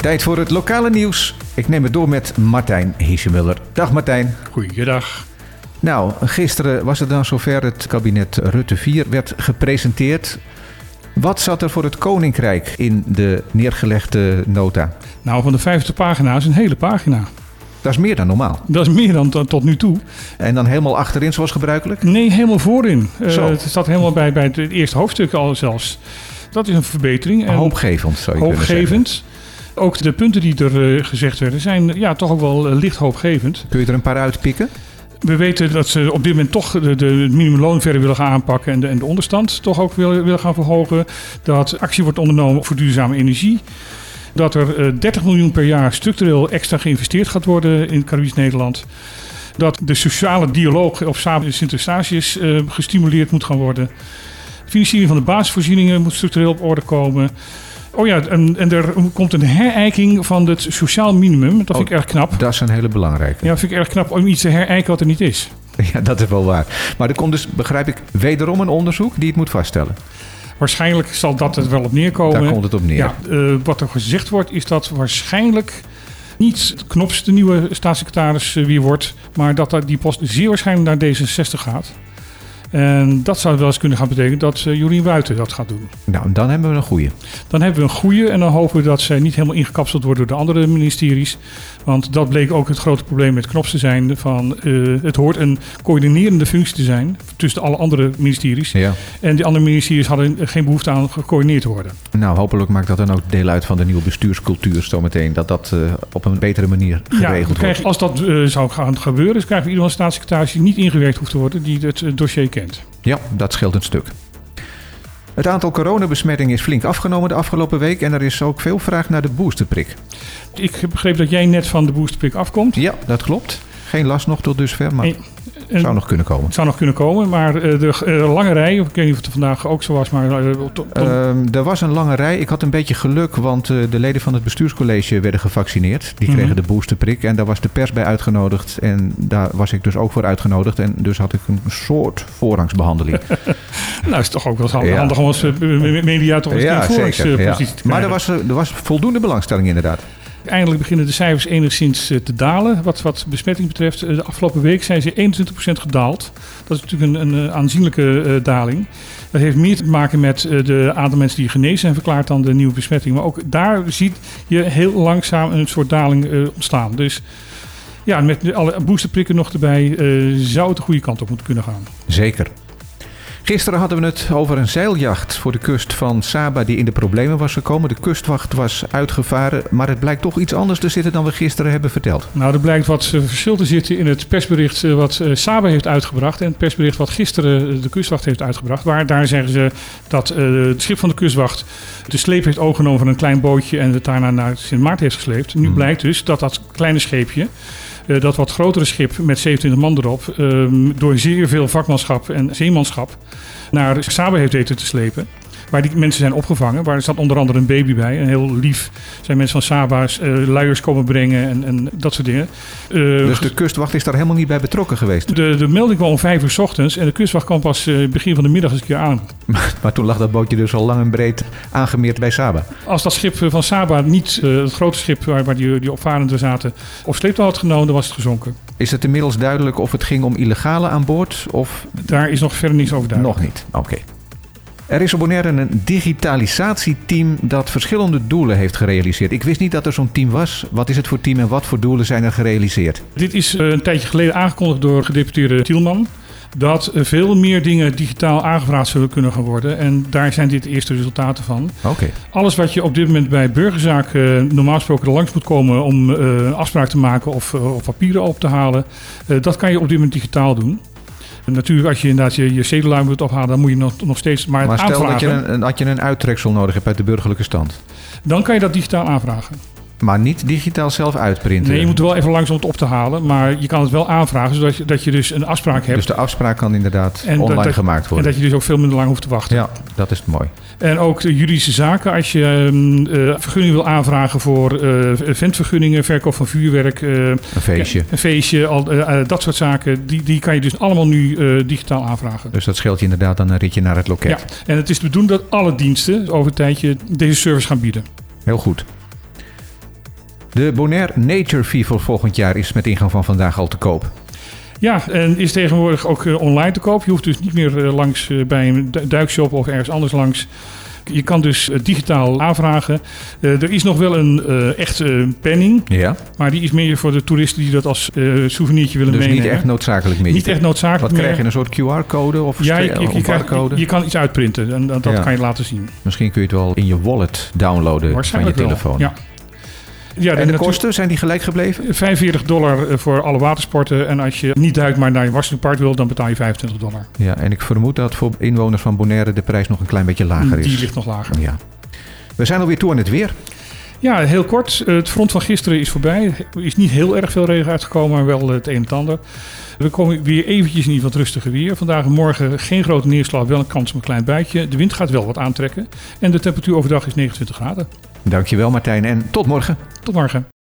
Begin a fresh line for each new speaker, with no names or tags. Tijd voor het lokale nieuws. Ik neem het door met Martijn Hiesemuller. Dag Martijn.
Goeiedag.
Nou, gisteren was het dan zover. Het kabinet Rutte 4 werd gepresenteerd. Wat zat er voor het Koninkrijk in de neergelegde nota?
Nou, van de 50 pagina's een hele pagina.
Dat is meer dan normaal.
Dat is meer dan tot, tot nu toe.
En dan helemaal achterin zoals gebruikelijk?
Nee, helemaal voorin. Eh,
Zo.
het staat helemaal bij, bij het eerste hoofdstuk al zelfs. Dat is een verbetering. En
Hoopgevend zou je kunnen zeggen.
hoopgevend. Ook de punten die er eh, gezegd werden zijn eh, ja, toch ook wel eh, licht hoopgevend.
Kun je er een paar uitpikken?
We weten dat ze op dit moment toch de, de, het minimumloon verder willen gaan aanpakken en de, en de onderstand toch ook willen, willen gaan verhogen. Dat actie wordt ondernomen voor duurzame energie. Dat er eh, 30 miljoen per jaar structureel extra geïnvesteerd gaat worden in Caribisch Nederland. Dat de sociale dialoog op Samen Sint-Eustatius eh, gestimuleerd moet gaan worden. De financiering van de basisvoorzieningen moet structureel op orde komen. Oh ja, en, en er komt een herijking van het sociaal minimum. Dat vind ik erg knap.
Dat is een hele belangrijke.
Ja, dat vind ik erg knap om iets te herijken wat er niet is.
Ja, dat is wel waar. Maar er komt dus, begrijp ik, wederom een onderzoek die het moet vaststellen.
Waarschijnlijk zal dat er wel op neerkomen.
Daar komt het op neer.
Oh, Ja, eh, wat er gezegd wordt, is dat waarschijnlijk niet Knops de nieuwe staatssecretaris eh, weer wordt, maar dat dat die post zeer waarschijnlijk naar D66 gaat. En dat zou wel eens kunnen gaan betekenen dat eh, Jorien Buiten dat gaat doen.
Nou, dan hebben we een goede.
Dan hebben we een goede en dan hopen we dat zij niet helemaal ingekapseld wordt door de andere ministeries. Want dat bleek ook het grote probleem met Knops te zijn. Van, eh, het hoort een coördinerende functie te zijn tussen alle andere ministeries.
Ja.
En die andere ministeries hadden geen behoefte aan gecoördineerd te worden.
Nou, hopelijk maakt dat dan ook deel uit van de nieuwe bestuurscultuur zometeen. Dat dat eh, op een betere manier
we
geregeld wordt.
krijgen- als dat eh, zou gaan gebeuren, dus krijgen we ieder een staatssecretaris die niet ingewerkt hoeft te worden, die het eh, dossier kent.
Ja, dat scheelt een stuk. Het aantal coronabesmettingen is flink afgenomen de afgelopen week. En er is ook veel vraag naar de boosterprik.
Ik heb begrepen dat jij net van de boosterprik afkomt.
Ja, dat klopt. Geen last nog tot dusver, maar
Nee, En
zou nog kunnen komen.
het zou nog kunnen komen, maar eh, de eh, lange rij, ik weet niet of het vandaag ook zo was, maar eh, to- to-
Ehm, er was een lange rij. Ik had een beetje geluk, want eh, de leden van het bestuurscollege werden gevaccineerd. Die kregen
Mhm.
de boosterprik en daar was de pers bij uitgenodigd. En daar was ik dus ook voor uitgenodigd. En dus had ik een soort voorrangsbehandeling.
nou is het toch ook wel handig,
Ja.
handig om als eh, media toch eens in de voorrangspositie
ja.
te krijgen.
Maar er was, eh, er was voldoende belangstelling inderdaad.
Eindelijk beginnen de cijfers enigszins eh, te dalen. Wat, wat besmetting betreft, Eh, de afgelopen week zijn ze 21% gedaald. Dat is natuurlijk een, een eh, aanzienlijke eh, daling. Dat heeft meer te maken met eh, de aantal mensen die genezen zijn verklaard dan de nieuwe besmetting. Maar ook daar ziet je heel langzaam een soort daling eh, ontstaan. Dus ja, met de- alle boosterprikken nog erbij eh, zou het de goede kant op moeten kunnen gaan.
Zeker. Gisteren hadden we het over een zeiljacht voor de kust van Saba die in de problemen was gekomen. De kustwacht was uitgevaren, maar het blijkt toch iets anders te zitten dan we gisteren hebben verteld.
Nou, er blijkt wat eh, verschil te zitten in het persbericht eh, wat eh, Saba heeft uitgebracht en het persbericht wat gisteren eh, de kustwacht heeft uitgebracht. Waar daar zeggen ze dat eh, het schip van de kustwacht de sleep heeft overgenomen van een klein bootje en het daarna naar Sint Maarten heeft gesleept. Nu
Hmm.
blijkt dus dat dat kleine scheepje, eh, dat wat grotere schip met 27 man erop, eh, door zeer veel vakmanschap en zeemanschap naar Saba heeft weten te slepen. Waar die mensen zijn opgevangen. Waar zat onder andere een baby bij. En heel lief zijn mensen van Saba's eh, luiers komen brengen en, en dat soort dingen. Eh,
Dus de kustwacht is daar helemaal niet bij betrokken geweest.
de, de melding kwam om vijf uur 's ochtends en de kustwacht kwam pas eh, begin van de middag eens een keer aan.
Maar toen lag dat bootje dus al lang en breed aangemeerd bij Saba.
Als dat schip eh, van Saba niet, eh, het grote schip waar, waar die, die opvarenden zaten, op sleeptouw had genomen, dan was het gezonken.
Is het inmiddels duidelijk of het ging om illegale aan boord of
Daar is nog verder niks over duidelijk.
nog niet? Oké. Er is op Bonaire een digitalisatieteam dat verschillende doelen heeft gerealiseerd. Ik wist niet dat er zo'n team was. Wat is het voor team en wat voor doelen zijn er gerealiseerd?
Dit is eh, een tijdje geleden aangekondigd door gedeputeerde Tielman. Dat eh, veel meer dingen digitaal aangevraagd zullen kunnen gaan worden. En daar zijn dit de eerste resultaten van.
Oké.
Alles wat je op dit moment bij burgerzaak eh, normaal gesproken er langs moet komen om eh, een afspraak te maken of, eh, of papieren op te halen, eh, dat kan je op dit moment digitaal doen. En natuurlijk, als je inderdaad je, je cedelaar moet ophalen, dan moet je nog, nog steeds maar, het
Maar stel
aanvragen.
dat je, een, een- dat je een uittreksel nodig hebt uit de burgerlijke stand.
Dan kan je dat digitaal aanvragen.
Maar niet digitaal zelf uitprinten.
Nee, je moet er wel even langs om het op te halen, maar je kan het wel aanvragen, zodat je, dat je dus een afspraak hebt.
dus de afspraak kan inderdaad
En dat-
online
dat-
gemaakt
en
worden.
dat je dus ook veel minder lang hoeft te wachten.
Ja, dat is mooi.
En ook de juridische zaken. Als je ehm, eh, vergunningen wil aanvragen voor eh ventvergunningen, verkoop van vuurwerk, eh,
Een feestje.
Ja, een feestje, al, eh, eh, dat soort zaken. Die, die kan je dus allemaal nu eh, digitaal aanvragen.
Dus dat scheelt je inderdaad dan een ritje naar het loket.
Ja, en het is de bedoeling dat alle diensten over een tijdje deze service gaan bieden.
Heel goed. De Bonaire Nature Fever volgend jaar is met ingang van vandaag al te koop.
Ja, en is tegenwoordig ook eh, online te koop. Je hoeft dus niet meer eh, langs eh, bij een du- duikshop of ergens anders langs. Je kan dus eh, digitaal aanvragen. Eh, er is nog wel een eh, echt eh, penning,
Ja,
maar die is meer voor de toeristen die dat als eh souvenirtje willen
dus
meenemen.
niet echt noodzakelijk meer.
Niet echt noodzakelijk
Wat
meer.
krijg je, een soort QR-code of
Ja, je,
stre-
je-
of
je krijgt-
barcode?
je- je kan iets uitprinten en dat, dat
Ja.
kan je laten zien.
Misschien kun je het wel in je wallet downloaden van je
Waarschijnlijk
telefoon.
wel. Ja. Ja,
En de
natu-
kosten, zijn die gelijk gebleven?
45 dollar eh, voor alle watersporten. En als je niet duikt, maar naar je Washington Park wil, dan betaal je 25 dollar.
Ja, en ik vermoed dat voor inwoners van Bonaire de prijs nog een klein beetje lager is.
Die ligt nog lager.
Ja. We zijn alweer toe aan het weer.
Ja, heel kort. Eh, Het front van gisteren is voorbij. Er is niet heel erg veel regen uitgekomen, maar wel eh, het een en het ander. We komen weer eventjes in ieder wat rustiger weer. Vandaag en morgen geen grote neerslag, wel een kans op een klein buitje. De wind gaat wel wat aantrekken. En de temperatuur overdag is 29 graden.
Dankjewel Martijn en tot morgen.
Tot morgen.